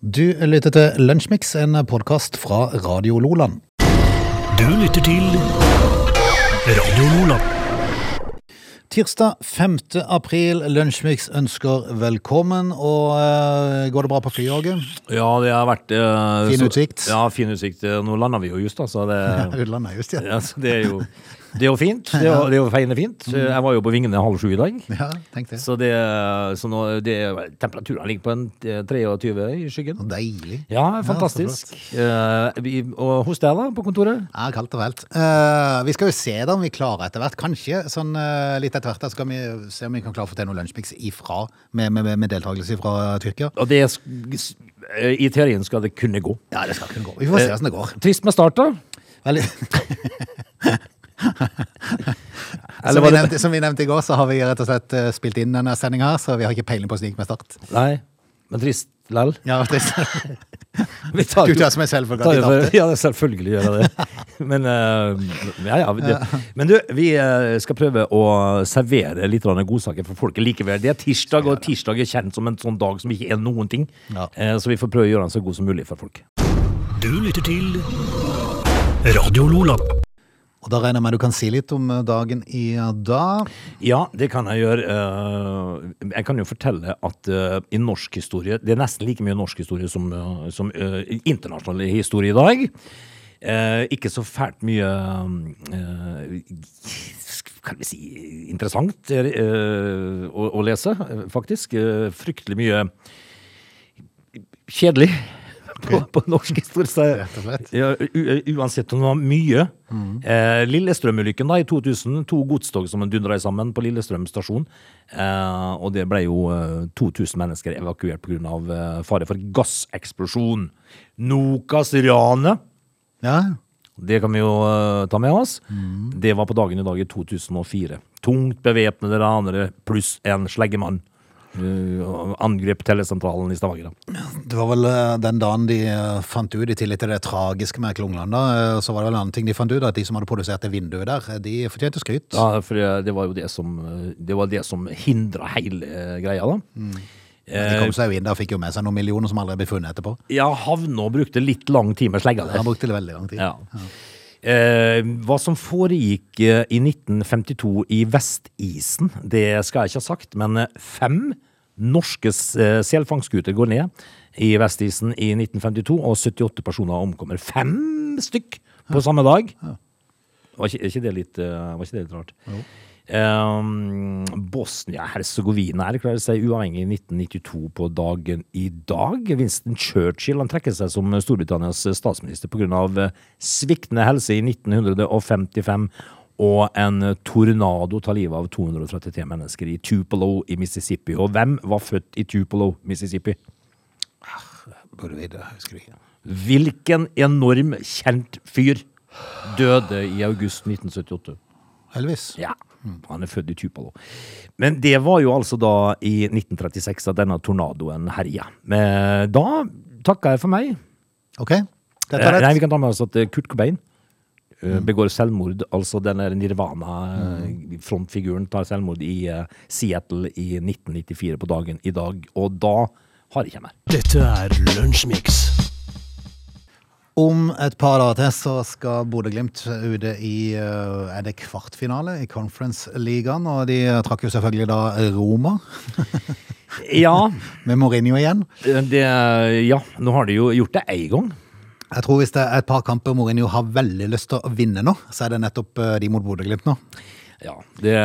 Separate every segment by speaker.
Speaker 1: Du lytter til Lunsjmix, en podkast fra Radio Loland.
Speaker 2: Du lytter til Radio Lola.
Speaker 1: Tirsdag 5. april, Lunsjmix ønsker velkommen. Og eh, går det bra på flyet, Åge?
Speaker 3: Ja, det har vært eh,
Speaker 1: Fin
Speaker 3: så-
Speaker 1: utsikt.
Speaker 3: Ja, fin utsikt. Eh, Nå landa vi jo just, da, så det,
Speaker 1: Utlandet, just, ja.
Speaker 3: ja, så det er jo Det er jo fint. Det er jo, det er jo feiende fint. Jeg var jo på vingene halv sju i dag.
Speaker 1: Mm. Ja, tenk det.
Speaker 3: Så, det, så nå, det, temperaturen ligger på en eh, 23 i skyggen.
Speaker 1: Deilig.
Speaker 3: Ja,
Speaker 1: så
Speaker 3: fantastisk. Eh, vi, og hos deg, da, på kontoret?
Speaker 1: Ja, kaldt og fælt. Eh, vi skal jo se da om vi klarer etter hvert. Kanskje sånn eh, litt etter hvert da skal vi se om vi kan klare å få til noe Lunsjmix ifra, med, med, med deltakelse fra Tyrkia.
Speaker 3: Og det er sk- s- eh, I teorien skal det kunne gå.
Speaker 1: Ja, det skal kunne gå. Vi får
Speaker 3: Eh.
Speaker 1: se åssen det går.
Speaker 3: Trist med start, da.
Speaker 1: Veldig. Som
Speaker 3: Eller
Speaker 1: vi,
Speaker 3: var det
Speaker 1: nevnte, som vi nevnte i går, så har vi rett og slett eh, spilt inn denne sendinga, så vi har ikke peiling på hvordan det gikk med Start.
Speaker 3: Nei, men trist lell.
Speaker 1: Ja, trist.
Speaker 3: Vi tar
Speaker 1: Du
Speaker 3: jo-
Speaker 1: tar som en selvfølge
Speaker 3: Ta
Speaker 1: at
Speaker 3: det
Speaker 1: de tapte.
Speaker 3: for, ja, det er selvfølgelig gjør jeg det. Men, eh, ja, ja, det. Men du, vi eh, skal prøve å servere litt grann godsaker for folket likevel. Det er tirsdag, og tirsdag er kjent som en sånn dag som ikke er noen ting.
Speaker 1: Ja.
Speaker 3: Eh, Så vi får prøve å gjøre den så god som mulig for folk.
Speaker 2: Du lytter til Radio Lola.
Speaker 1: Og da regner jeg med du kan si litt om eh, dagen i dag.
Speaker 3: Ja, det kan jeg gjøre. Eh, Jeg kan jo fortelle at eh, i norsk historie Det er nesten like mye norsk historie som, eh, som eh, internasjonal historie i dag. Eh, Ikke så fælt mye eh, Kan vi si interessant eh, å, å lese, eh, faktisk. Eh, Fryktelig mye kjedelig på, på norsk historie. så-
Speaker 1: Rett og slett.
Speaker 3: ja, u eh, uansett om det var mye. Eh, Lillestrøm-ulykken da, i 2000. To godstog som dundra sammen på Lillestrøm stasjon. Eh, og det ble jo eh, 2000 mennesker evakuert pga. Eh, fare for gasseksplosjon. Nokas-ranet.
Speaker 1: Ja,
Speaker 3: Det kan vi jo eh, ta med oss. Det var på dagen i dag i 2004. Tungt bevæpnede ranere pluss en sleggemann eh, angrep telesentralen i Stavanger. da.
Speaker 1: Det var vel eh, den dagen de eh, fant ut, i tillegg til det tragiske med Klungland, da, eh, så var det vel en annen ting de fant ut, at de som hadde produsert det vinduet der, eh, de fortjente skryt.
Speaker 3: Ja, for eh, det var jo det som, eh, det var det som hindra hele eh, greia, da. eh,
Speaker 1: De kom seg jo inn der og fikk jo med seg noen millioner som aldri ble funnet etterpå.
Speaker 3: Ja, havna og brukte litt lang tid med slegga
Speaker 1: Han
Speaker 3: der.
Speaker 1: brukte det veldig lang tid.
Speaker 3: Ja. Eh, hva som foregikk eh, i 1952 i Vestisen, det skal jeg ikke ha sagt, men eh, fem norske s- eh, selfangstskuter går ned i Vestisen i 1952, og 78 personer omkommer. Fem stykk på samme dag! Var ikke, er ikke, det litt, eh, var ikke det litt rart? Eh, Bosnia-Hercegovina erklærer seg uavhengig i 1992 på dagen i dag. Winston Churchill han trekker seg som Storbritannias statsminister pga. eh, sviktende helse i 1955. Og en tornado tar livet av 233 mennesker i Tupelo i Mississippi. Og hvem var født i Tupelo, Mississippi?
Speaker 1: Burde vi det, husker vi.
Speaker 3: Hvilken enorm kjent fyr døde i august 1978?
Speaker 1: Elvis.
Speaker 3: Ja, han er født i Tupalo. Men det var jo altså da i 1936 at denne tornadoen herja. Men eh, Da takka jeg for meg.
Speaker 1: Ok, dette
Speaker 3: Eh,
Speaker 1: er Mm.
Speaker 3: Nei,
Speaker 1: det.
Speaker 3: vi kan ta med oss at eh, Kurt Cobain eh, begår selvmord. Altså den der Nirvana-frontfiguren tar selvmord i eh, Seattle i 1994 på dagen i dag. Og da har jeg ikke mer.
Speaker 2: Dette er Lunsjmix.
Speaker 1: Om et par dager til så skal Bodø-Glimt ute i eh, er det kvartfinale i Conference-ligaen. Og de trakk jo selvfølgelig da Roma,
Speaker 3: Ja,
Speaker 1: med Mourinho igjen.
Speaker 3: eh, det, ja, nå har de jo gjort det én gang.
Speaker 1: Jeg tror hvis det er et par kamper Mourinho har veldig lyst til å vinne nå, så er det nettopp eh, de mot Bodø-Glimt nå.
Speaker 3: Ja, det,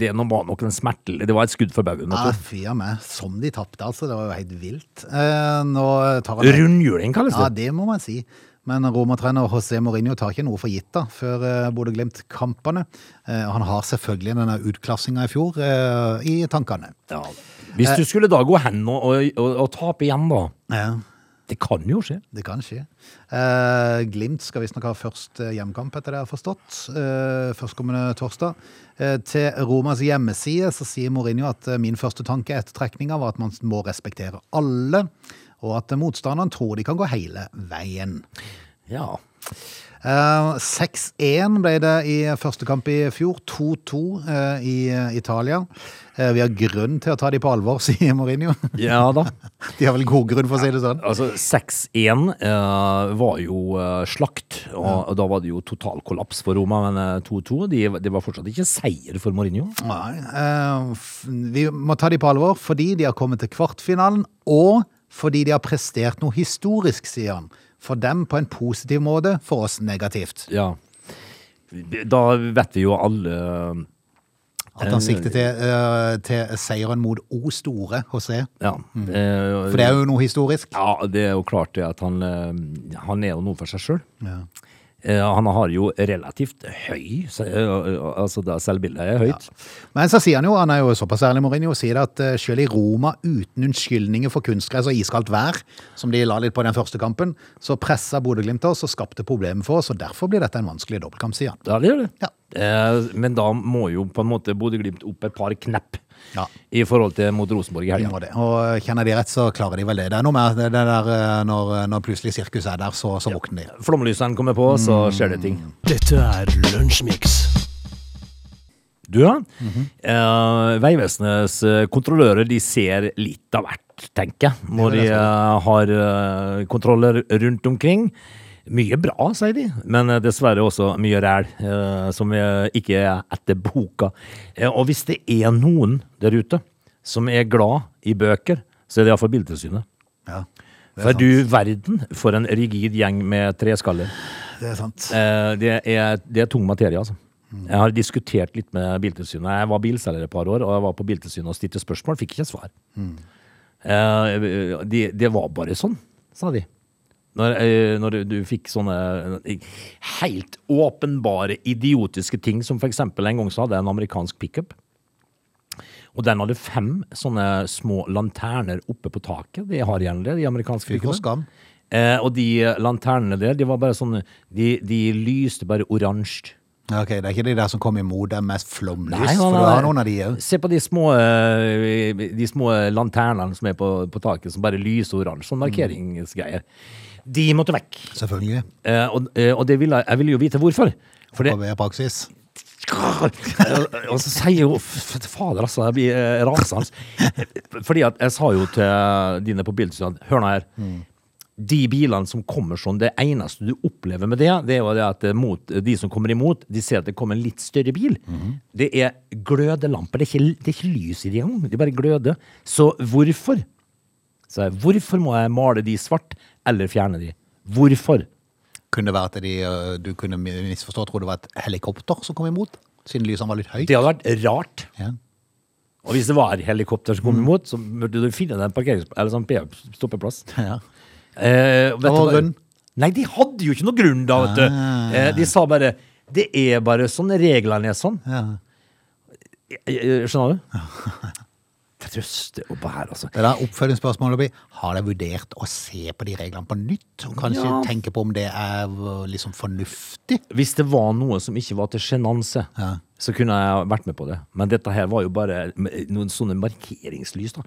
Speaker 3: det nå var nok en smertelig Det var et skudd for baugen.
Speaker 1: Ja,
Speaker 3: vet du.
Speaker 1: Fy a meg. Som de tapte, altså. Det var jo helt vilt. Eh, Nå tar han
Speaker 3: Rundhjuling, kalles det.
Speaker 1: Ja, det må man si. Men Roma-trener José Mourinho tar ikke noe for gitt da, før eh, Bodø-Glimt-kampene. Eh, Han har selvfølgelig denne utklassinga i fjor eh, i tankene.
Speaker 3: Ja. Eh, Hvis du skulle da gå hen og, og, og, og tape igjen, da.
Speaker 1: Ja,
Speaker 3: Det kan jo skje.
Speaker 1: det kan skje. Eh, Glimt skal visstnok ha først eh, hjemmekamp, etter det jeg har forstått. eh, Førstkommende torsdag. Eh, Til Romas hjemmeside så sier Mourinho at eh, min første tanke etter trekninga var at man må respektere alle, og at eh, motstanderen tror de kan gå hele veien.
Speaker 3: Ja.
Speaker 1: Eh, 6-1 ble det i første kamp i fjor. 2-2 eh, i eh, Italia. Eh, vi har grunn til å ta de på alvor, sier Mourinho.
Speaker 3: Ja da.
Speaker 1: De har vel god grunn, for å si det sånn.
Speaker 3: Altså, 6-1 eh, var jo eh, slakt, og, og da var det jo total kollaps for Roma. Men eh, 2-2 de, det var fortsatt ikke seier for Mourinho.
Speaker 1: Nei, eh, f- vi må ta de på alvor fordi de har kommet til kvartfinalen, og fordi de har prestert noe historisk, sier han. For dem på en positiv måte, for oss negativt.
Speaker 3: Ja. Da vet vi jo alle
Speaker 1: At han sikter til, eh, til seieren mot O store hos E.
Speaker 3: Ja. eh,
Speaker 1: For det er jo noe historisk.
Speaker 3: Ja, det er jo klart det at han, eh, han er jo noe for seg sjøl. Han har jo relativt høy se- eh, altså da Selvbildet er høyt.
Speaker 1: Men så sier han jo, han er jo såpass ærlig, Mourinho, og sier det at eh, selv i Roma uten unnskyldninger for kunstgress og iskaldt vær, som de la litt på den første kampen, så pressa Bodø-Glimt oss og skapte problemer for oss, og derfor blir dette en vanskelig dobbeltkamp, sier han.
Speaker 3: Ja, det gjør det.
Speaker 1: Ja.
Speaker 3: Eh, Men da må jo på en måte Bodø-Glimt opp et par knepp
Speaker 1: Ja.
Speaker 3: i forhold til mot Rosenborg i
Speaker 1: De
Speaker 3: helga.
Speaker 1: må det. Og eh, kjenner de rett, så klarer de vel det. Det er noe med det der eh, når, når plutselig sirkus er der, så, så våkner de.
Speaker 3: Flomlysene kommer på, så skjer det ting.
Speaker 2: Dette er Lunsjmix.
Speaker 3: Du, ja. eh, Vegvesenets eh, kontrollører de ser litt av hvert, tenker jeg, når de
Speaker 1: vil jeg
Speaker 3: eh, har eh, kontroller rundt omkring. Mye bra, sier de, men eh, dessverre også mye ræl, eh, som eh, ikke er etter boka. Eh, og hvis det er noen der ute som er glad i bøker, så er det iallfall Bildetilsynet.
Speaker 1: Ja, det
Speaker 3: For
Speaker 1: er sant.
Speaker 3: du verden for en rigid gjeng med treskaller.
Speaker 1: Det er sant.
Speaker 3: Eh, det, er, det er tung materie, altså.
Speaker 1: Mm.
Speaker 3: Jeg har diskutert litt med Biltilsynet. Jeg var bilselger et par år, og jeg var på Biltilsynet og stilte spørsmål. Fikk ikke svar.
Speaker 1: Mm.
Speaker 3: Eh, det de var bare sånn, sa de. Når, eh, når du, du fikk sånne eh, helt åpenbare idiotiske ting, som f.eks. en gang så hadde jeg en amerikansk pickup. Og den hadde fem sånne små lanterner oppe på taket. De har gjerne det, de amerikanske
Speaker 1: Fy for
Speaker 3: pickupene.
Speaker 1: skam.
Speaker 3: Eh, og de lanternene der, de var bare sånn De, de lyste bare oransje.
Speaker 1: Ja, Ok, Det er ikke de der som kommer imot deg mest flomlys,
Speaker 3: Nei, nei,
Speaker 1: for du
Speaker 3: nei.
Speaker 1: har noen av de òg.
Speaker 3: Se på de små, eh, de små lanternene som er på, på taket, som bare lyser oransje.
Speaker 1: Mm.
Speaker 3: Sånn markeringsgreier. De måtte vekk.
Speaker 1: Selvfølgelig.
Speaker 3: Eh, og eh, og det ville, jeg ville jo vite hvorfor. For det
Speaker 1: På vei av praksis.
Speaker 3: Eh, Og så sier jo f- f- Fader, altså. Jeg blir eh, rasende. Fordi at jeg sa jo til dine på Bildsund at hør nå her. De bilene som kommer sånn, det eneste du opplever med det, det er jo det at eh, mot, de som kommer imot, de ser at det kommer en litt større bil. Det er glødelamper. Det er ikke, det er ikke lys i det engang. Det er bare gløder. Så hvorfor? Så jeg, hvorfor må jeg male de svart, eller fjerne de? Hvorfor?
Speaker 1: Kunne det være at de, eh, du kunne misforstå, tror det var et helikopter som kom imot? Siden lysene var litt høyt?
Speaker 3: Det hadde vært rart.
Speaker 1: Ja.
Speaker 3: Og hvis det var helikopter som kom imot, så burde du finne deg en parkerings- eller sånn P-stoppeplass.
Speaker 1: Ja.
Speaker 3: Eh, vet du
Speaker 1: var
Speaker 3: hva-
Speaker 1: grunn.
Speaker 3: Nei, de hadde jo ikke noe grunn, da, vet du. Eh, de sa bare Det er bare sånn reglene er sånn.
Speaker 1: Ja.
Speaker 3: Eh, eh, Skjønner du? Det er trøste oppå her, altså.
Speaker 1: Det der oppfølgingsspørsmålet blir Har dere vurdert å se på de reglene på nytt? Og kanskje
Speaker 3: Ja.
Speaker 1: tenke på om det er eh, liksom fornuftig?
Speaker 3: Hvis det var noe som ikke var til sjenanse, så kunne jeg vært med på det. Men dette her var jo bare noen sånne markeringslys, da.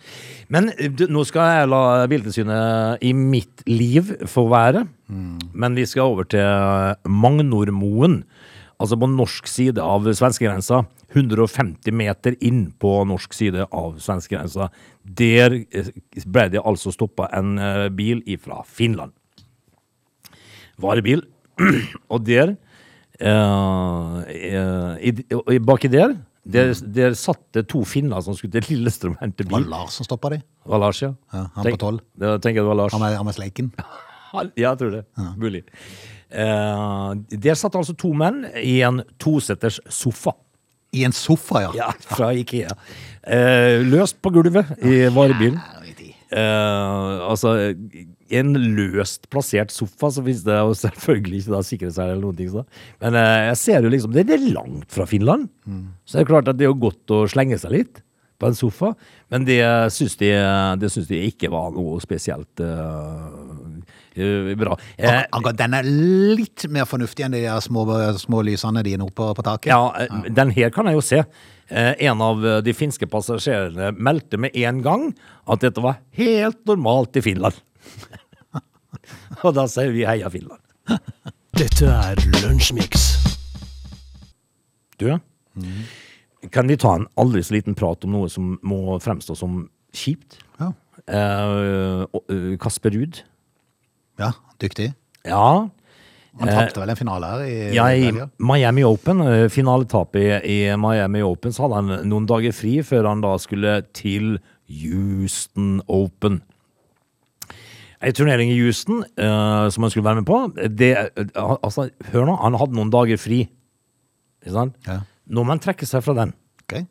Speaker 3: Men eh, du, nå skal jeg la Bildesynet i mitt liv få være. Men vi skal over til eh, Magnormoen. Altså på norsk side av svenskegrensa. 150 meter inn på norsk side av svenskegrensa. Der eh, ble det altså stoppa en eh, bil ifra Finland varebil. og der eh, eh, i, og i- Baki der, der,
Speaker 1: Mm.
Speaker 3: der satt det to finner som skulle til Lillestrøm og hente
Speaker 1: Var det
Speaker 3: bil.
Speaker 1: Lars som stoppa de?
Speaker 3: Det var Lars, ja.
Speaker 1: Ja, han
Speaker 3: Tenk-
Speaker 1: på tolv.
Speaker 3: Det, tenker jeg det var Lars.
Speaker 1: Han med, han med sleiken?
Speaker 3: Han- Ja, jeg tror det. Mulig. Eh, der satt altså to menn i en toseters sofa.
Speaker 1: I en sofa, ja.
Speaker 3: Ja, fra Ikea. Eh, løst på gulvet i varebilen. Eh, altså, en løst plassert sofa, så finnes det jo selvfølgelig ikke da sikkerhetsseil eller noen ting. Så. Men eh, jeg ser jo liksom, det det er langt fra Finland. Så det er klart at det er jo godt å slenge seg litt på en sofa. Men det syns de, det syns de ikke var noe spesielt eh, eh, bra. Eh,
Speaker 1: Akkurat den er litt mer fornuftig enn de der små, små lysene dine oppe på taket.
Speaker 3: Ja, eh, den her kan jeg jo se. Eh, En av eh, de finske passasjerene meldte med en gang at dette var helt normalt i Finland. Og da sier vi heia Finland.
Speaker 2: Dette er Lunsjmix.
Speaker 3: Du, Mm. kan vi ta en aldri så liten prat om noe som må fremstå som kjipt?
Speaker 1: Ja,
Speaker 3: Eh, og, eh, Kasper Ruud.
Speaker 1: ja dyktig.
Speaker 3: Ja.
Speaker 1: Han tapte vel en finale her Eh, i
Speaker 3: Eh. Ja, i
Speaker 1: Belgia?
Speaker 3: Miami Open, eh, finaletapet i, i Miami Open, så hadde han noen dager fri før han da skulle til Houston Open. En turnering i Houston eh, som han skulle være med på. Det, eh, al- altså, hør nå, han hadde noen dager fri. Ikke sant?
Speaker 1: Ja.
Speaker 3: Nå må han trekke seg fra den.
Speaker 1: Ok.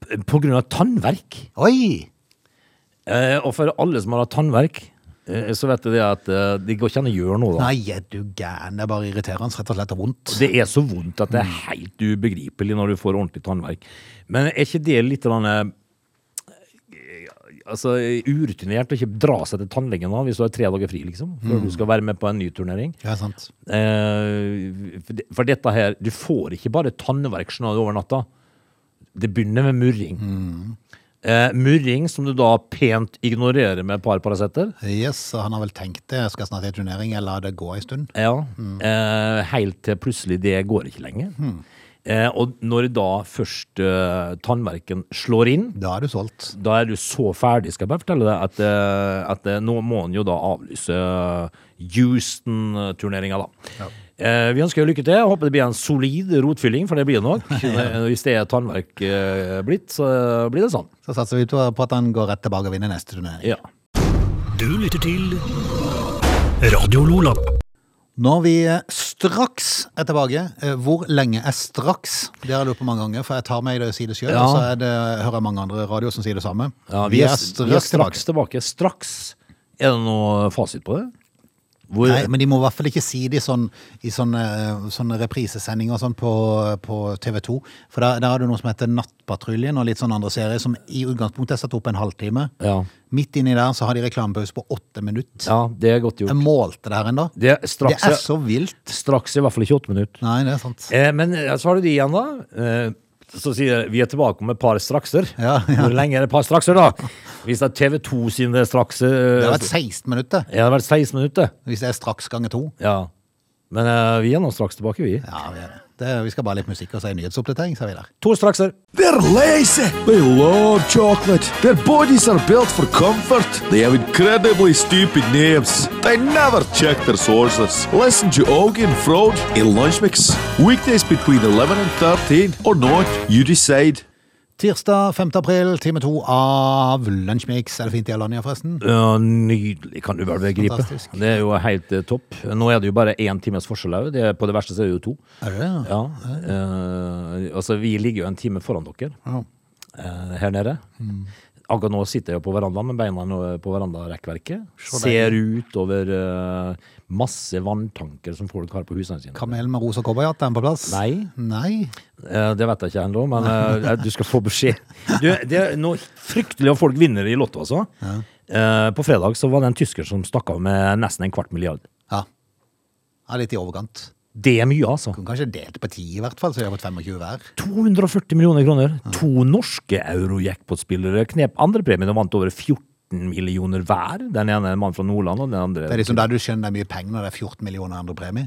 Speaker 3: p- På grunn av tannverk.
Speaker 1: Oi!
Speaker 3: Eh, og for alle som har hatt tannverk, eh, så vet du det at eh, det går ikke an å gjøre noe da.
Speaker 1: Nei, er du gæren. Det er bare irriterende. Rett og slett og vondt.
Speaker 3: Det er så vondt at det er helt ubegripelig når du får ordentlig tannverk. Men er ikke det litt grann, eh, altså, urutinert å ikke dra seg til tannlegen da, hvis du har tre dager fri, liksom? Før du skal være med på en ny turnering?
Speaker 1: Ja, sant.
Speaker 3: Eh, for det- for dette her, du får ikke bare tannverk sånn over natta. Det begynner med murring. Eh, murring som du da pent ignorerer med et par Paracet.
Speaker 1: Yes, så han har vel tenkt det. Jeg skal snart i turnering. Jeg lar det gå en stund.
Speaker 3: Ja, eh, helt til plutselig det går ikke lenger. Eh, og når da først eh, tannverken slår inn,
Speaker 1: Da er du solgt.
Speaker 3: da er du så ferdig, skal jeg bare fortelle deg, at, eh, at eh, nå må han jo da avlyse eh, Houston-turneringa, da. Eh, vi ønsker lykke til. Håper det blir en solid rotfylling, for det blir det nok. Hvis det er tannverk eh, blitt, så blir det sånn.
Speaker 1: Så satser vi på på at han går rett tilbake og vinner neste turnering.
Speaker 3: Ja.
Speaker 2: Du lytter til Radio Lola.
Speaker 1: Når vi eh, straks er tilbake eh, Hvor lenge er straks? Det har jeg lurt på mange ganger, for jeg tar meg i det og sier det sjøl.
Speaker 3: Ja.
Speaker 1: Og så er det, hører jeg mange andre radioer som sier det samme.
Speaker 3: Ja, vi, er, vi er straks tilbake. Straks. Er det noe fasit på det? Hvor,
Speaker 1: Nei, men de må i hvert fall ikke si det i sånn, i sånne, sånne reprisesendinger og sånn på, på TV 2. For der, der har du noe som heter Nattpatruljen og litt sånn andre serier som i utgangspunktet er satt opp en halvtime.
Speaker 3: Ja.
Speaker 1: Midt inni der så har de reklamepause på åtte minutter.
Speaker 3: Ja, det er godt gjort.
Speaker 1: Jeg målte det her ennå.
Speaker 3: Det er
Speaker 1: Det
Speaker 3: straks,
Speaker 1: er så vilt.
Speaker 3: straks i hvert fall ikke åtte minutter.
Speaker 1: Nei, det er sant.
Speaker 3: Eh, men eh, så har du de igjen, da. Eh, så sier jeg, vi er tilbake om et par strakser.
Speaker 1: Ja, ja.
Speaker 3: Hvor lenge er det et par strakser, da? Hvis det er TV 2 sine strakser
Speaker 1: Det
Speaker 3: eh,
Speaker 1: har vært 16 minutter,
Speaker 3: så- Ja, det har vært 16 minutter.
Speaker 1: hvis det er straks ganger to.
Speaker 3: Ja. Men eh, vi er nå straks tilbake, vi.
Speaker 1: Ja, vi er det. Det, vi skal bare litt musikk og så en nyhetsoppdatering, sier vi der.
Speaker 3: To strakser.
Speaker 4: They're lazy. They love chocolate. Their bodies are built for comfort. They have incredibly stupid names. They never check their sources. Listen to Augie and Frode in Lunch Mix. Weekdays between 11 and 13 or not, you decide.
Speaker 1: Tirsdag 5. april, time to av Lunsjmix. Er det fint i Alanya, forresten?
Speaker 3: Ja, nydelig, kan du vel begripe.
Speaker 1: Fantastisk.
Speaker 3: Det er jo helt eh, topp. Nå er det jo bare én times forskjell òg. På det verste så er det jo to.
Speaker 1: Er det det?
Speaker 3: Ja. eh, altså, vi ligger jo en time foran dere.
Speaker 1: Ja.
Speaker 3: eh, her nede. Akkurat nå sitter jeg jo på verandaen med beina nå eh, på verandarekkverket.
Speaker 1: Så
Speaker 3: Ser ut over eh, masse vanntanker som folk har på husene sine.
Speaker 1: Kamel med rosa cowboyhatt, er den på plass?
Speaker 3: Nei.
Speaker 1: Nei.
Speaker 3: Eh, det vet jeg ikke ennå, men eh, du skal få beskjed. Du, det er noe fryktelig at folk vinner i Lotto, altså. Eh, på fredag så var det en tysker som stakk av med nesten en kvart milliard.
Speaker 1: Ja. ja litt i overkant.
Speaker 3: Det er mye, altså.
Speaker 1: Kunne kanskje delt på 10 i hvert fall, så vi har fått 25 hver.
Speaker 3: 240 millioner kroner. To norske Eurojackpot-spillere knep andrepremien og vant over 14 millioner hver. Den ene er en mann fra Nordland, og den andre
Speaker 1: Det er liksom der du skjønner det er mye penger når det er 14 millioner andre premie.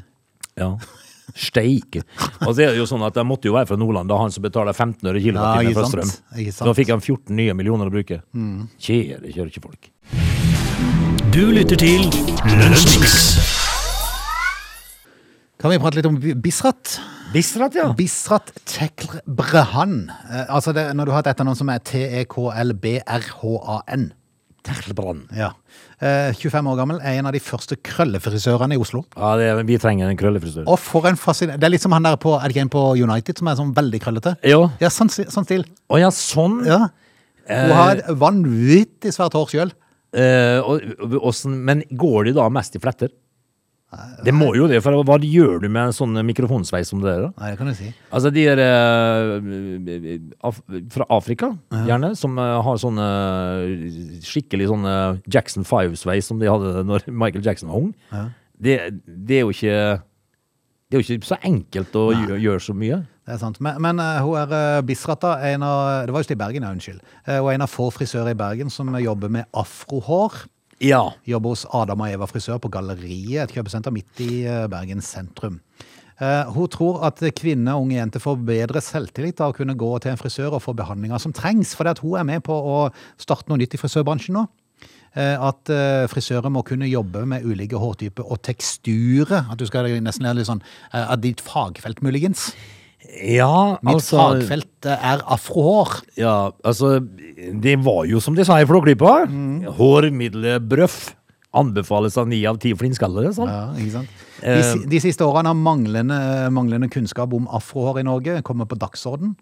Speaker 3: Ja. Steike. Og så er det jo sånn at de måtte jo være fra Nordland, da han som betaler 15 øre
Speaker 1: Ja,
Speaker 3: kilowattimen
Speaker 1: ikke
Speaker 3: for
Speaker 1: sant.
Speaker 3: strøm.
Speaker 1: Ikke sant. Mm.
Speaker 3: Da fikk han 14 nye millioner å bruke. Kjære kjører ikke folk.
Speaker 2: Du lytter til Lunsjmix.
Speaker 1: Kan vi prate litt om Bi- Bisrat?
Speaker 3: Bisrat, ja.
Speaker 1: Bisrat Tekler Brehan. Eh, altså det, når du har et etternavn som er E T-E-K-L-B-R-H-A-N.
Speaker 3: Terlebrann.
Speaker 1: Ja. Eh, 25 år gammel, er en av de første krøllefrisørene i Oslo.
Speaker 3: Ja, det er, vi trenger en krøllefrisør.
Speaker 1: Og for en fasciner... Det er litt som han der på, er det ikke en på United som er sånn veldig krøllete?
Speaker 3: Jo.
Speaker 1: Ja, sånn, si- sånn stil.
Speaker 3: Å ja, sånn.
Speaker 1: Ja. Hun har et vanvittig svært hår sjøl.
Speaker 3: Eh, og, og, åssen- men går de da mest i fletter? Det må jo det, for hva gjør du med en sånn mikrofonsveis som det der? da?
Speaker 1: Nei, det kan du si.
Speaker 3: Altså de der eh, af, fra Afrika, gjerne, som eh, har sånne skikkelig sånne Jackson 5-sveis som de hadde når Michael Jackson var ung. Det, det er jo ikke det er jo ikke så enkelt å gjø- gjøre så mye.
Speaker 1: Det er sant. Men, men eh, hun er eh, Bisrata, en av, det var just i Bergen, ja, unnskyld. Eh, Hun er en av få frisører i Bergen som jobber med afrohår.
Speaker 3: Ja.
Speaker 1: Jobber hos Adam og Eva frisør på Galleriet, et kjøpesenter midt i eh, Bergen sentrum. Eh, Hun tror at kvinner og unge jenter får bedre selvtillit av å kunne gå til en frisør og få behandlinger som trengs, fordi at hun er med på å starte noe nytt i frisørbransjen nå. Eh, At eh, frisører må kunne jobbe med ulike hårtyper og teksturer. At du skal nesten lære litt sånn eh, av ditt fagfelt, muligens.
Speaker 3: Ja,
Speaker 1: Mitt
Speaker 3: altså
Speaker 1: fagfelt eh, er afrohår.
Speaker 3: Ja, altså Det var jo som de sa i Flåklypa.
Speaker 1: Mm.
Speaker 3: Hårmiddelbrøff. Anbefales av ni av ti flintskaller. sant?
Speaker 1: Ja, ikke sant? De,
Speaker 3: Eh.
Speaker 1: si- de siste årene har manglende, manglende kunnskap om afrohår i Norge kommet på dagsorden.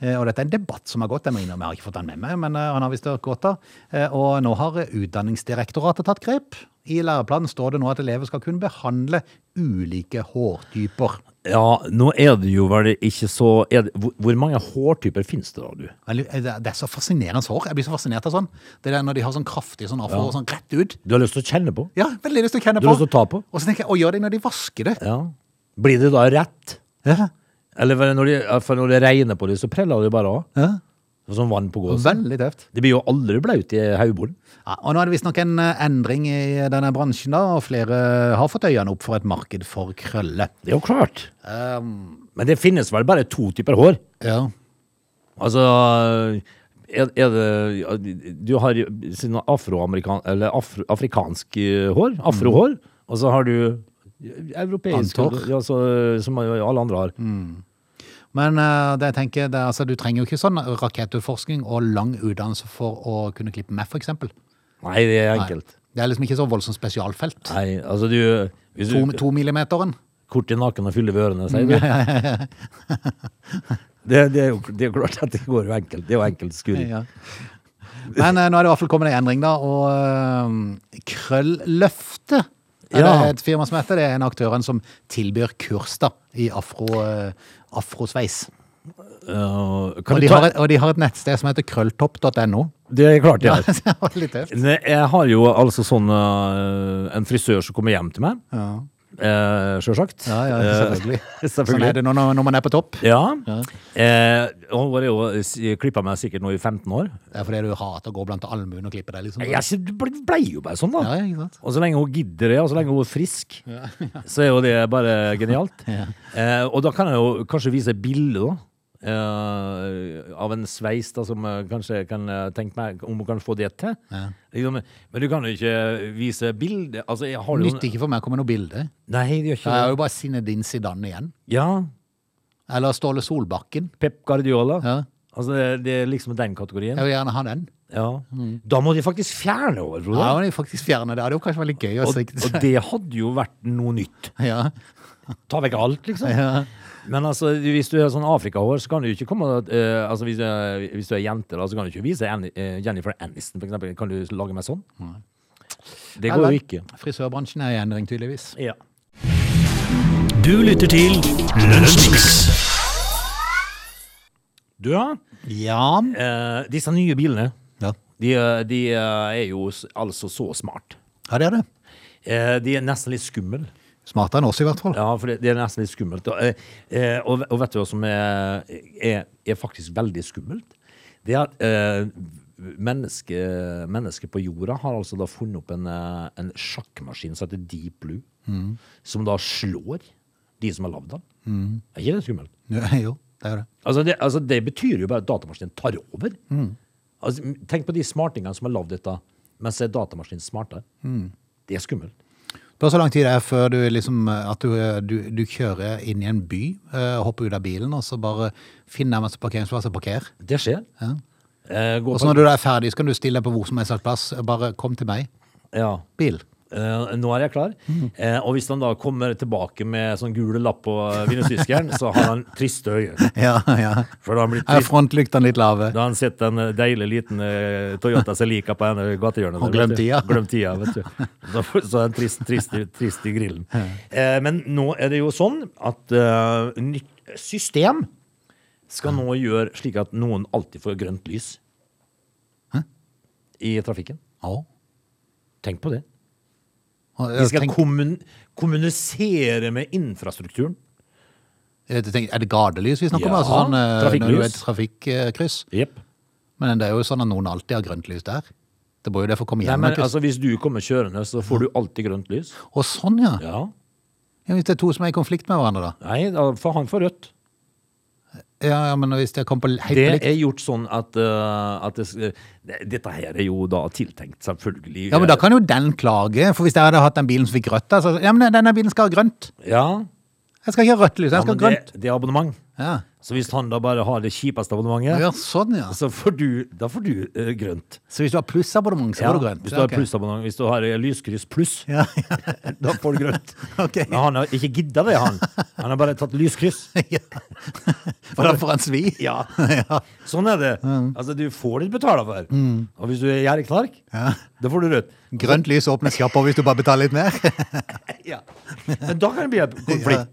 Speaker 1: Eh, Og dette er en debatt som har gått. Jeg må innrømme, jeg har ikke fått den med meg, men eh, han har visst gått av. Eh, Og nå har Utdanningsdirektoratet tatt grep. I læreplanen står det nå at elever skal kunne behandle ulike hårtyper.
Speaker 3: Ja, nå er det jo vel ikke så er det, hvor, hvor mange hårtyper finnes det da, du?
Speaker 1: Men Det eh, det er så fascinerende hår. Jeg blir så fascinert av sånn. Det er når de har sånn kraftig sånn afrohår sånn rett ut.
Speaker 3: Du har lyst til å kjenne på?
Speaker 1: Ja, veldig lyst til å kjenne
Speaker 3: Du
Speaker 1: på.
Speaker 3: har lyst til å ta på?
Speaker 1: Og så tenker jeg, å gjør det når de vasker det.
Speaker 3: Ja. Blir det da rett?
Speaker 1: Ja.
Speaker 3: Eller vel, når de, for når det regner på det, så preller det bare av.
Speaker 1: Ja.
Speaker 3: Som vann på gåsen.
Speaker 1: Veldig tøft.
Speaker 3: Det blir jo aldri blaut i haugborden.
Speaker 1: Ja, og nå er det visstnok en eh, endring i denne bransjen, da, og flere har fått øynene opp for et marked for krølle.
Speaker 3: Det er jo klart. Um. Men det finnes vel bare to typer hår?
Speaker 1: ja.
Speaker 3: Altså er, er det Du har siden afroamerikan... Eller afro, afrikansk eh, hår. Afrohår. Og så har du
Speaker 1: Annet
Speaker 3: europeisk
Speaker 1: hår.
Speaker 3: hår, ja, så, eh, som alle andre har.
Speaker 1: Men eh, det jeg tenker, det, er, altså, du trenger jo ikke sånn rakettutforsking og lang utdannelse for å kunne klippe meg, for eksempel.
Speaker 3: Nei, det er
Speaker 1: Nei.
Speaker 3: enkelt.
Speaker 1: Det er liksom ikke så voldsomt spesialfelt.
Speaker 3: Nei, altså du Hvis
Speaker 1: To,
Speaker 3: du
Speaker 1: to millimeteren.
Speaker 3: kort i nakken og fyller ved ørene, sier du. Det, det, er jo, det er jo klart at det går jo enkelt. Det er jo enkelt skuring.
Speaker 1: Ja. Men eh, nå er det i hvert fall kommet en endring, da, og eh, Krølløftet er det
Speaker 3: Ja.
Speaker 1: et firma som heter. Det er en aktøren som tilbyr kurs da, i afro, eh, afrosveis.
Speaker 3: Uh,
Speaker 1: Og
Speaker 3: kan
Speaker 1: de,
Speaker 3: du ta,
Speaker 1: har et, og de har et nettsted som heter krølltopp.no.
Speaker 3: det er klart, det. er.
Speaker 1: Det var litt tøft.
Speaker 3: Ne, Jeg har jo altså sånn øh, En frisør som kommer hjem til meg. Ja. Sjølsagt.
Speaker 1: Ja, ja, selvfølgelig.
Speaker 3: Eh,
Speaker 1: Sånn er
Speaker 3: selvfølgelig.
Speaker 1: det når, når man er på topp.
Speaker 3: Ja. Eh, hun var jo klippa meg sikkert nå i 15 år.
Speaker 1: Det er fordi du hater å gå blant allmuen og klippe deg, liksom.
Speaker 3: Jeg er ikke- det ble, ble jo bare sånn, da.
Speaker 1: Ja, ikke sant?
Speaker 3: Og så lenge hun gidder det, og så lenge hun er frisk, så er jo det bare genialt. eh, og da kan jeg jo kanskje vise et bilde, da. eh, av en sveis da, som eh, kanskje kan eh, tenke meg om hun kan få det til. Liksom, men du kan jo ikke vise bilde altså, jeg har jo-
Speaker 1: Nytter ikke for meg å komme med noe bilde.
Speaker 3: Nei, det gjør
Speaker 1: Jeg
Speaker 3: ikke
Speaker 1: er
Speaker 3: det.
Speaker 1: jo bare Zinedine Zidane igjen.
Speaker 3: Ja.
Speaker 1: Eller Ståle Solbakken.
Speaker 3: Pep Guardiola.
Speaker 1: Ja.
Speaker 3: Altså, det, det er liksom den kategorien.
Speaker 1: Jeg vil gjerne ha den.
Speaker 3: Ja. Da må de faktisk fjerne henne, Frode.
Speaker 1: Mm. Ja, men jeg faktisk fjerne det. Det hadde jo kanskje vært litt gøy å
Speaker 3: og,
Speaker 1: sikte
Speaker 3: og det hadde jo vært noe nytt.
Speaker 1: Ja.
Speaker 3: Ta vekk alt, liksom.
Speaker 1: Ja.
Speaker 3: Men altså, hvis du har sånn afrikahår, så kan du ikke komme eh, Altså, hvis du, er- hvis du er jente, da, så kan du ikke vise Ann- eh, Jennifer Aniston, for eksempel. Kan du lage meg sånn? Det går jo ikke.
Speaker 1: Frisørbransjen er i endring, tydeligvis.
Speaker 3: Ja.
Speaker 2: Du lytter til Lunsjmix.
Speaker 3: Du, ja.
Speaker 1: Ja.
Speaker 3: Eh, disse nye bilene,
Speaker 1: Ja,
Speaker 3: de, eh, de eh, er jo s- altså så smart.
Speaker 1: ja det er det.
Speaker 3: Eh, de er nesten litt skumle.
Speaker 1: Smartere enn oss, i hvert fall.
Speaker 3: Ja, for det, det er nesten litt skummelt. Og, eh, eh, og, og vet du hva som er, er, er faktisk veldig skummelt? Det er at eh, mennesker mennesker på jorda har altså da funnet opp en, eh, en sjakkmaskin som heter Deep Blue, som da slår de som har lagd den. Er ikke det skummelt?
Speaker 1: Jo, det er det.
Speaker 3: Altså det, altså det betyr jo bare at datamaskinen tar over. Altså, tenk på de smartingene som har lagd dette, mens er datamaskinen smartere.
Speaker 1: Mm.
Speaker 3: Det er skummelt.
Speaker 1: Det tar så lang tid det er før du liksom eh, At du, eh, du, du kjører inn i en by, eh, hopper ut av bilen, og så bare finner nærmeste parkeringsplass og parker.
Speaker 3: Det skjer. Eh, gå
Speaker 1: Og
Speaker 3: på-
Speaker 1: så når du er ferdig, så kan du stille deg på hvor som helst slags plass. Bare kom til meg.
Speaker 3: ja.
Speaker 1: Bil.
Speaker 3: Eh, nå er jeg klar. Eh, og hvis han da kommer tilbake med sånn gule lapp på vindusviskeren, så har han triste øyne.
Speaker 1: Ja, ja.
Speaker 3: For da har han blitt
Speaker 1: Er
Speaker 3: trist.
Speaker 1: frontlyktene litt lave?
Speaker 3: Da har han sett en eh, deilig liten eh, Toyota Celica på en eh, gatehjørne.
Speaker 1: Og
Speaker 3: der,
Speaker 1: glemt
Speaker 3: vet du.
Speaker 1: tida.
Speaker 3: Glemt tida, vet du. Da får- Så er han trist, trist, trist i grillen. Eh, men nå er det jo sånn at eh, nytt system skal nå gjøre slik at noen alltid får grønt lys i trafikken.
Speaker 1: Ja.
Speaker 3: Tenk på det.
Speaker 1: Og
Speaker 3: De
Speaker 1: jeg
Speaker 3: skal
Speaker 1: tenker-
Speaker 3: kommun kommunisere med infrastrukturen.
Speaker 1: jeg tenker, er det gatelys vi snakker om?
Speaker 3: Ja,
Speaker 1: Altså sånn, eh, når du er
Speaker 3: trafikklys.
Speaker 1: et trafikkryss?
Speaker 3: Jepp.
Speaker 1: Men det er jo sånn at noen alltid har grønt lys der. Det må jo det for å komme
Speaker 3: Nei,
Speaker 1: gjennom.
Speaker 3: men
Speaker 1: ikke sant?
Speaker 3: altså, Hvis du kommer kjørende, så får du alltid grønt lys.
Speaker 1: og sånn, ja.
Speaker 3: Ja.
Speaker 1: ja! Hvis det er to som er i konflikt med hverandre, da.
Speaker 3: Nei, da får han får rødt.
Speaker 1: Ja, ja, Men hvis det kommer på helt på
Speaker 3: Det
Speaker 1: likt
Speaker 3: er gjort sånn at, eh, at det, s- det, Dette her er jo da tiltenkt, selvfølgelig.
Speaker 1: Ja, men Da kan jo den klage. For Hvis jeg hadde hatt den bilen som fikk rødt da, så Ja, men denne bilen skal ha grønt.
Speaker 3: Ja,
Speaker 1: Jeg skal ikke ha rødt lys, jeg
Speaker 3: ja
Speaker 1: skal
Speaker 3: men
Speaker 1: ha grønt.
Speaker 3: det, det er abonnement.
Speaker 1: Ja.
Speaker 3: Så hvis han da bare har det kjipeste abonnementet,
Speaker 1: ja, sånn, ja.
Speaker 3: så får du, da får du eh, grønt.
Speaker 1: Så hvis du har plussabonnement, så
Speaker 3: Ja,
Speaker 1: får du grønt?
Speaker 3: Hvis du har
Speaker 1: Ok.
Speaker 3: plussabonnement, hvis du har eh, lyskryss pluss,
Speaker 1: Ja, ja,
Speaker 3: da får du grønt.
Speaker 1: ok.
Speaker 3: Men han har ikke gidda det, han. Han har bare tatt lyskryss.
Speaker 1: Ja. Og da får han svi?
Speaker 3: Ja,
Speaker 1: Ja.
Speaker 3: sånn er det. Altså, du får det du betaler for. Og hvis du er gjerrig knark, da får du rødt.
Speaker 1: Grønt lys åpner kjapt over hvis du bare betaler litt mer.
Speaker 3: Ja. Men da kan det bli en konflikt.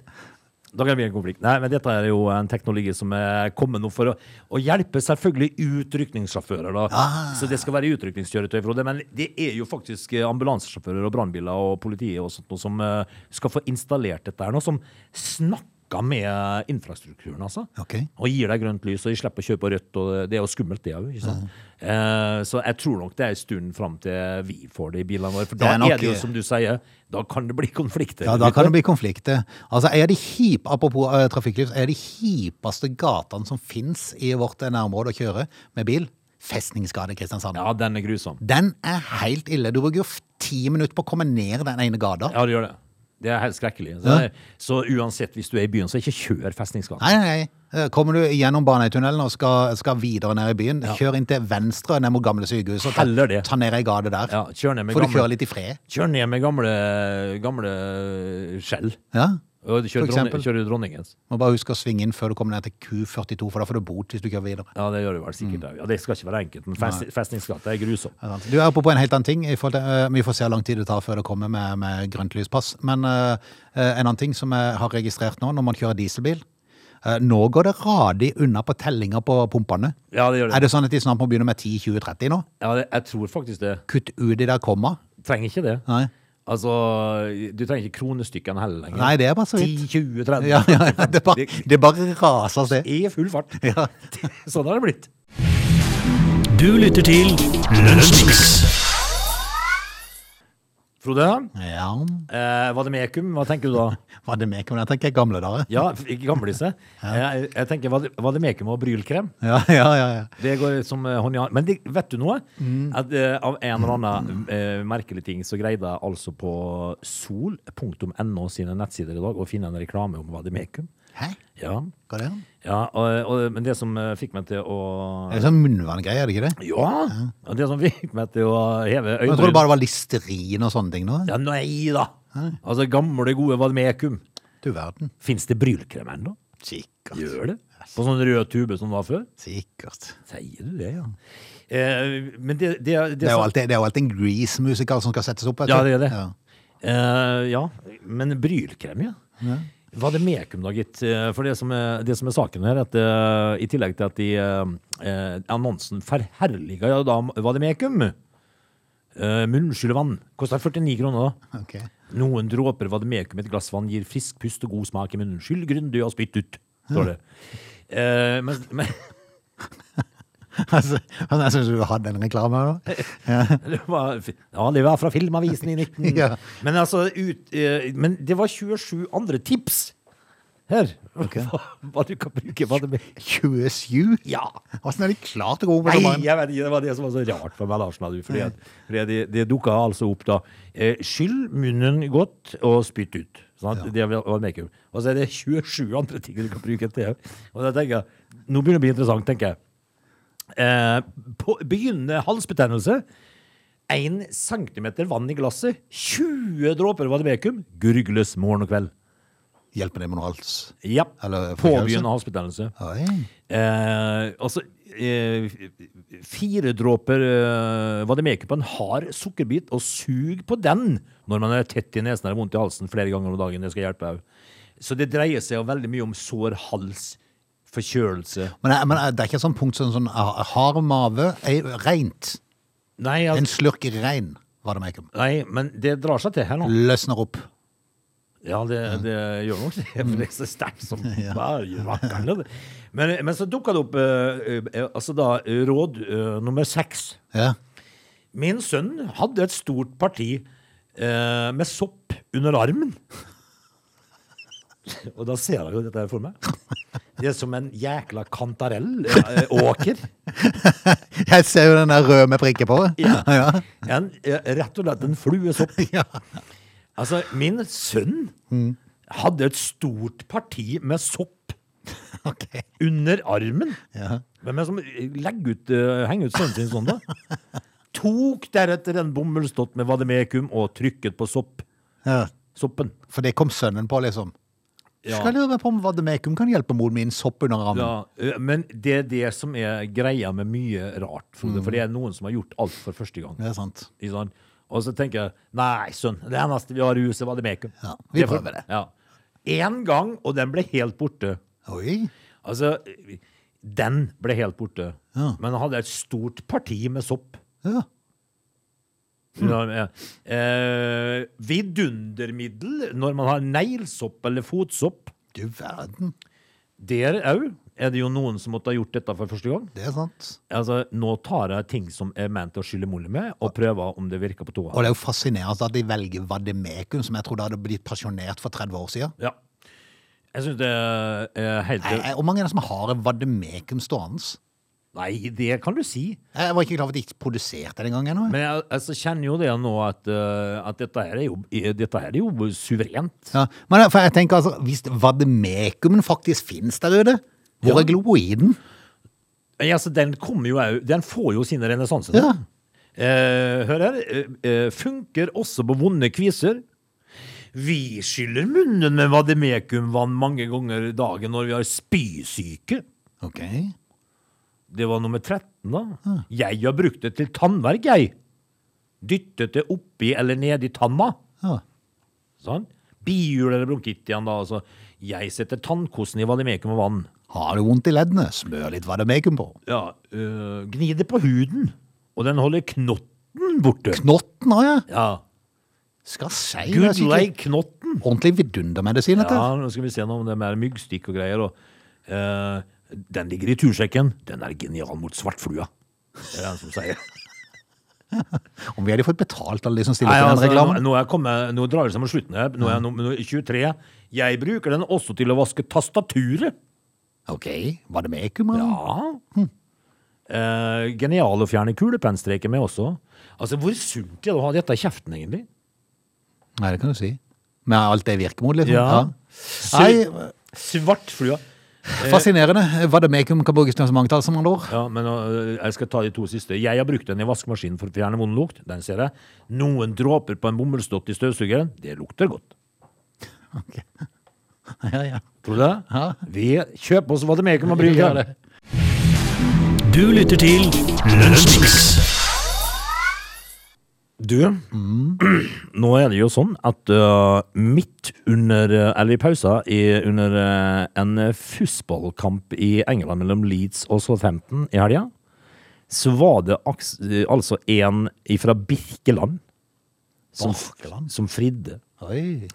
Speaker 3: Da kan det bli en konflikt. Nei, men dette er jo en teknologi som er kommet nå for å, å hjelpe selvfølgelig utrykningssjåfører. Da. Så det skal være utrykningskjøretøy, Frode. Men det er jo faktisk eh, ambulansesjåfører og brannbiler og politiet og sånt noe som eh, skal få installert dette her nå, som snakker med eh, infrastrukturen, altså.
Speaker 1: Ok.
Speaker 3: Og gir deg grønt lys, og de slipper å kjøpe rødt. og Det er jo skummelt, det òg. Eh, så jeg tror nok det er en stund fram til vi får det i bilene våre. For da
Speaker 1: Det er
Speaker 3: er,
Speaker 1: nok-
Speaker 3: det jo som du sier, da kan det bli konflikter.
Speaker 1: Ja, da kan det bli konflikter. Altså, er de kjip, apropos eh, trafikklys, er de kjipeste gatene som fins i vårt eh, nærområde å kjøre med bil? Festningsgade i Kristiansand.
Speaker 3: Ja, den er grusom.
Speaker 1: Den er helt ille. Du bruker jo f- ti minutter på å komme ned den ene gata.
Speaker 3: Ja, det gjør det. Det er helt skrekkelig. Så,
Speaker 1: Ja.
Speaker 3: så uansett, hvis du er i byen, så ikke kjør festningsgata.
Speaker 1: Nei, nei, nei. Eh, Kommer du gjennom Banetunnelen og skal, skal videre ned i byen, kjør inn til venstre ned mot gamle sykehus og ta,
Speaker 3: Heller det.
Speaker 1: ta ned ei gate der.
Speaker 3: Ja, kjør ned med
Speaker 1: Får du
Speaker 3: gamle-
Speaker 1: kjøre litt i fred.
Speaker 3: Kjør ned med gamle, gamle eh, skjell.
Speaker 1: Ja.
Speaker 3: Og
Speaker 1: For
Speaker 3: kjør, dronning,
Speaker 1: eksempel.
Speaker 3: kjør dronningens.
Speaker 1: Må bare huske å svinge inn før du kommer ned til Q42, for da får du bot hvis du kjører videre.
Speaker 3: Ja, det gjør du vel sikkert. Ja, det skal ikke være enkelt, men fest, festningsgata er grusom.
Speaker 1: Mm. Ja, sant. Du er oppe på en helt annen ting. I forhold til, eh, vi får se hvor lang tid det tar før det kommer med, med grønt lyspass. Men eh, eh, en annen ting som jeg har registrert nå, når man kjører dieselbil eh, Nå går det radig unna på tellinga på pumpene.
Speaker 3: Ja, det gjør
Speaker 1: Er
Speaker 3: det.
Speaker 1: det sånn at de snart må begynne med 10-20-30 nå?
Speaker 3: Ja, det jeg tror faktisk det.
Speaker 1: Kutt ut de der komma.
Speaker 3: Trenger ikke det.
Speaker 1: Nei,
Speaker 3: Altså, du trenger ikke kronestykkene heller lenger.
Speaker 1: Nei det er bare så vidt.
Speaker 3: 10, 20, 30.
Speaker 1: Ja, ja, ja, det, bare, det bare raser av sted.
Speaker 3: I full fart.
Speaker 1: Ja.
Speaker 3: Sånn har det blitt.
Speaker 2: Du lytter til Lunsjmix.
Speaker 3: Frode,
Speaker 1: ja.
Speaker 3: eh, var det med ekum? Hva tenker du da?
Speaker 1: Var det meg? Men jeg tenker gamle dager.
Speaker 3: Ja, ikke gamlisse. Jeg, jeg tenker, var det, var det med ekum og brylkrem?
Speaker 1: Ja, ja, ja. ja.
Speaker 3: Det går som eh, hånd i hånd. Men det, vet du noe?
Speaker 1: Mm.
Speaker 3: At eh, av en eller annen eh, merkelig ting så greide jeg altså på sol.no sine nettsider i dag å finne en reklame om vademekum.
Speaker 1: Hæ?
Speaker 3: Ja.
Speaker 1: Går det an?
Speaker 3: ja og, og, men det som eh, fikk meg til å
Speaker 1: Det er sånn munnvanngreie, er det ikke det?
Speaker 3: Ja! og Det som fikk meg til å heve
Speaker 1: Jeg tror det
Speaker 3: øynene
Speaker 1: bare var listerin og sånne ting nå.
Speaker 3: Ja, nei da! Altså, gamle, gode vademekum.
Speaker 1: Du verden.
Speaker 3: Fins det brylkrem ennå?
Speaker 1: Sikkert.
Speaker 3: Gjør det? På sånn rød tube som det var før?
Speaker 1: Sikkert.
Speaker 3: Sier du det, ja? Eh, men det, det, det,
Speaker 1: Det er jo alltid, det er jo alltid en Grease-musiker som skal settes opp. vet du.
Speaker 3: Ja, det er det.
Speaker 1: Ja.
Speaker 3: Eh, ja, men brylkrem, ja. Var det mekum da, gitt? Eh, For det som er, det som er saken her, at eh, i tillegg til at de eh, eh, annonsen forherliga ja, da var det mekum. Uh, Munnskyllevann kosta 49 kroner da.
Speaker 1: Ok.
Speaker 3: Noen dråper var det mekum i et glass vann gir frisk pust og god smak i munnen. Skyll grundig og spytt ut, står det. Eh, men, men
Speaker 1: Altså, altså, jeg syns du hadde en reklame her nå.
Speaker 3: Det var, ja, det var fra Filmavisen i 19...
Speaker 1: Ja.
Speaker 3: Men altså, ut, eh, men det var 27 andre tips her. Hva, hva du kan bruke. Hva det med.
Speaker 1: 27?
Speaker 3: Ja!
Speaker 1: Åssen er de klart å gå opp på
Speaker 3: Nei,
Speaker 1: så
Speaker 3: jeg
Speaker 1: mange?
Speaker 3: vet ikke, det var det som var så rart for meg, Larsen. Du, fordi at, fordi at det, det dukka altså opp da. Eh, skyll munnen godt og spytt ut. Sant? Det var makeup. Og så er det 27 andre ting du kan bruke til. Og da tenker jeg, nå begynner det å bli interessant, tenker jeg. Eh, på, begynnende halsbetennelse. 1 cm vann i glasset, 20 dråper vademekum, gurgles morgen og kveld.
Speaker 1: Hjelper det med noe hals?
Speaker 3: Ja.
Speaker 1: Eller
Speaker 3: Påbegynnende halsbetennelse.
Speaker 1: Oi.
Speaker 3: Eh, altså eh, Fire dråper eh, vademekum på en hard sukkerbit, og sug på den når man er tett i nesen eller vondt i halsen flere ganger om dagen. Det skal hjelpe òg. Så det dreier seg jo veldig mye om sår hals, forkjølelse
Speaker 1: Men, jeg- men jeg- det er ikke et sånt punkt som sånn, jeg har mave, jeg, rent.
Speaker 3: Nei,
Speaker 1: En
Speaker 3: altså,
Speaker 1: slurk rein, var det makeup.
Speaker 3: nei, men det drar seg til her nå.
Speaker 1: Løsner opp.
Speaker 3: Ja, det, det gjør nok det, for det er så sterkt som bare rakkerne. det. Men, men så dukka det opp eh, eh, altså da, eh, råd eh, nummer seks.
Speaker 1: Ja.
Speaker 3: Min sønn hadde et stort parti eh, med sopp under armen. Og da ser jeg jo dette her for meg. Det er som en jækla eh, kantarellåker.
Speaker 1: Jeg ser jo den der røde med prikker på.
Speaker 3: Ja.
Speaker 1: Ja.
Speaker 3: En, eh, rett og slett en fluesopp.
Speaker 1: Ja.
Speaker 3: Altså, min sønn hadde et stort parti med sopp
Speaker 1: Ok.
Speaker 3: under armen.
Speaker 1: Ja.
Speaker 3: Hvem er det som legger ut, eh, henger ut sønnen sin sånn, da? Tok deretter en bomullsdott med vademekum og trykket på sopp.
Speaker 1: Ja.
Speaker 3: soppen.
Speaker 1: For det kom sønnen på, liksom.
Speaker 3: Ja.
Speaker 1: Skal lure på om Vademekum kan hjelpe moren min sopp under armen.
Speaker 3: Ja, eh, men det er det som er greia med mye rart, Frode.
Speaker 1: Mm.
Speaker 3: For det er noen som har gjort alt for første gang.
Speaker 1: Det er sant.
Speaker 3: Ikke sant? Og så tenker jeg nei, sønn, det eneste vi har i huset, var det Mekum.
Speaker 1: Ja, vi
Speaker 3: er for-
Speaker 1: prøver det.
Speaker 3: Ja. Én gang, og den ble helt borte.
Speaker 1: Oi.
Speaker 3: Altså, den ble helt borte.
Speaker 1: Ja.
Speaker 3: Men han hadde et stort parti med sopp.
Speaker 1: Ja. Mm.
Speaker 3: Ja, ja. Eh, vidundermiddel når man har neglesopp eller fotsopp.
Speaker 1: Du verden.
Speaker 3: Der òg er det jo noen som måtte ha gjort dette for første gang.
Speaker 1: Det er sant.
Speaker 3: Altså, nå tar jeg ting som er ment å skylle mulig med,
Speaker 1: Ah.
Speaker 3: og prøver om det virker på
Speaker 1: Og
Speaker 3: toa.
Speaker 1: det er jo fascinerende at de velger Vademekum, som jeg trodde hadde blitt pasjonert for 30 år siden.
Speaker 3: Ja. Jeg syns det er helt
Speaker 1: Jeg, jeg, eh, hvor mange er det som har en Vademekum stående?
Speaker 3: Nei, det kan du si.
Speaker 1: Jeg var ikke klar over at de ikke produserte det engang ennå.
Speaker 3: Men jeg altså, kjenner jo det nå at, eh, at dette, her er jo, eh, dette her er jo suverent.
Speaker 1: Ja, men for jeg tenker altså, hvis vademekumen faktisk finnes der ute, hvor er gloiden?
Speaker 3: Eh, Altså, den kommer jo òg Den får jo sine renessanser.
Speaker 1: Ja.
Speaker 3: Eh, hør her. eh, eh, funker også på vonde kviser. Vi skyller munnen med vademekumvann mange ganger i dagen når vi har spysyke.
Speaker 1: Ok.
Speaker 3: Det var nummer 13, da. Jeg har brukt det til tannverk, jeg. Dyttet det oppi eller nedi tanna.
Speaker 1: Ja.
Speaker 3: Sånn. Bihul eller bronkitt igjen, da. Altså. Jeg setter tannkosten i valimekum og vann.
Speaker 1: Har du vondt i leddene, smør litt vademekum på.
Speaker 3: Ja, øh, Gni det på huden, og den holder knotten borte.
Speaker 1: Knotten har jeg.
Speaker 3: Ja.
Speaker 1: Skal si det er
Speaker 3: Good
Speaker 1: skikkelig-
Speaker 3: like knotten.
Speaker 1: Ordentlig vidundermedisin, dette.
Speaker 3: Ja, nå skal vi se noe om det er mer myggstikk og greier. Og, eh, den ligger i tursekken. Den er genial mot svartflua. Det er den som sier.
Speaker 1: Om vi hadde fått betalt alle de som stiller
Speaker 3: Nei,
Speaker 1: til den
Speaker 3: altså, nå,
Speaker 1: reklamen.
Speaker 3: nå, er jeg kommet, nå drar det seg mot slutten her. Nå er jeg nummer 23. Jeg bruker den også til å vaske tastaturet.
Speaker 1: Ok, vademekum, ja.
Speaker 3: Ja. Eh, genial å fjerne kulepennstreker med også. Altså, Hvor sunt er det å ha dette i kjeften, egentlig?
Speaker 1: Nei, det kan du si. Med alt det virkemod, liksom.
Speaker 3: Ja.
Speaker 1: Nei,
Speaker 3: Svartflua. Eh.
Speaker 1: fascinerende. Vademekum kan brukes til så mange tall som man når.
Speaker 3: Ja, men øh, jeg skal ta de to siste. Jeg har brukt den i vaskemaskinen for å fjerne vond lukt. Den ser jeg. Noen dråper på en bomullsdott i støvsugeren. Det lukter godt.
Speaker 1: Ja, ja.
Speaker 3: Tror du det?
Speaker 1: Ja.
Speaker 3: Vi kjøper oss hva det mer kan man bruke.
Speaker 1: Gjør det.
Speaker 2: Du lytter til Lunsjmix.
Speaker 3: Du, nå er det jo sånn at øh, midt under, øh, eller i pausa, i, under øh, en øh, fussballkamp i England mellom Leeds og Southampton i helga, så var det aks, øh, altså en fra Birkeland som,
Speaker 1: Birkeland?
Speaker 3: som fridde.
Speaker 1: Oi.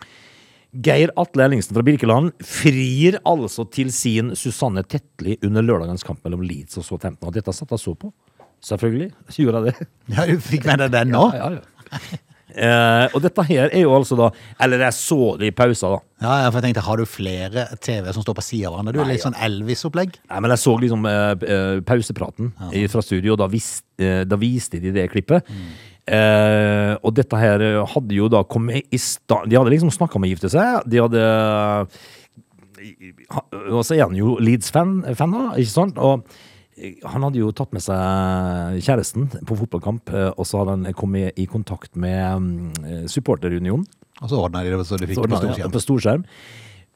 Speaker 3: Geir Atle Ellingsen fra Birkeland frir altså til sin Susanne Tetli under lørdagens kamp mellom Leeds og Southampton. Og dette satt jeg så på. Selvfølgelig gjorde jeg det.
Speaker 1: Ja, du fikk med deg den nå?
Speaker 3: Ja, ja. Eh, og dette her er jo altså da Eller jeg så det i pausa, da.
Speaker 1: Ja, ja, for jeg tenkte, har du flere TV som står på siden av hverandre? Du er litt sånn Elvis-opplegg.
Speaker 3: Nei, men jeg så liksom eh, eh, pausepraten i- fra studio, og da, vis, eh, da viste de det klippet. Eh, og dette her eh, hadde jo da kommet i stand De hadde liksom snakka om å gifte seg. De hadde eh, ha- Og så er han jo Leeds-fan, fan da, ikke sant? Og eh, han hadde jo tatt med seg kjæresten på fotballkamp, eh, og så hadde han kommet i kontakt med mm, eh, supporterunionen.
Speaker 1: Og så ordnet de det, så du fikk
Speaker 3: Så
Speaker 1: det på
Speaker 3: ordnet jeg
Speaker 1: storskjerm.
Speaker 3: På storskjerm.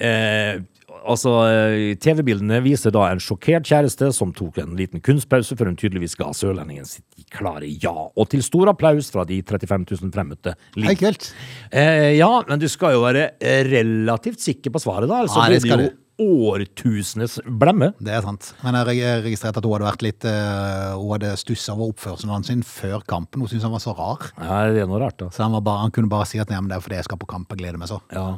Speaker 3: Eh, altså, eh, TV-bildene viser da en sjokkert kjæreste som tok en liten kunstpause før hun tydeligvis ga sørlendingen sitt klare ja, og til stor applaus fra de 35 000 fremmøtte.
Speaker 1: Hei, kult.
Speaker 3: Eh, ja, men du skal jo være eh, relativt sikker på svaret, da. Ellers så
Speaker 1: Nei, det
Speaker 3: blir
Speaker 1: skal
Speaker 3: det jo årtusenes blemme.
Speaker 1: Det er sant. Men jeg reg- registrerte at hun hadde vært litt eh, Hun hadde stussa over oppførselen hans sin før kampen. Hun syntes han var så rar.
Speaker 3: Ja, det er noe rart, altså. da.
Speaker 1: Så han, var bare, han kunne bare si at Nei, men det er fordi jeg skal på kamp og gleder meg så.
Speaker 3: Ja.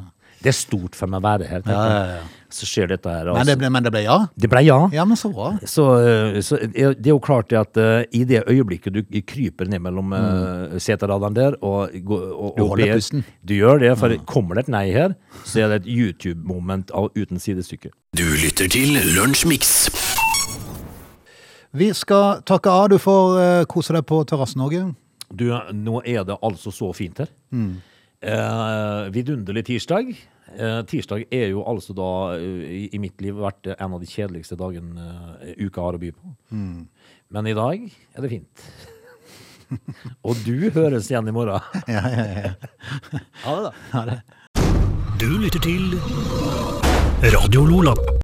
Speaker 3: Det er stort for meg å være her. tenker
Speaker 1: Ja, ja, ja.
Speaker 3: jeg. Så skjer dette her.
Speaker 1: Men det
Speaker 3: altså.
Speaker 1: ble, men det ble ja?
Speaker 3: Det ble ja.
Speaker 1: Ja, men så bra.
Speaker 3: Så, eh, så er- det er jo klart det at eh, i det øyeblikket du kryper ned mellom mm. seteradene der og, går- og,
Speaker 1: Du
Speaker 3: og
Speaker 1: holder
Speaker 3: ber-
Speaker 1: pusten. Mm.
Speaker 3: Du gjør det, for kommer det et nei her, så er det et YouTube-moment av- uten sidestykke.
Speaker 2: Du lytter til Lunsjmix.
Speaker 1: Vi skal takke av. Du får eh, kose deg på terrassen, Åge.
Speaker 3: Du, eh, nå er det altså så fint her.
Speaker 1: Mm.
Speaker 3: Eh, vidunderlig tirsdag. Eh, tirsdag er jo altså da eh, i, i mitt liv vært en av de kjedeligste dagene eh, uka har å by på.
Speaker 1: Mm.
Speaker 3: Men i dag er det fint. Og du høres igjen i morgen.
Speaker 1: Ja, ja, ja.
Speaker 3: Ha det, da.
Speaker 2: Du lytter til Radio Lola.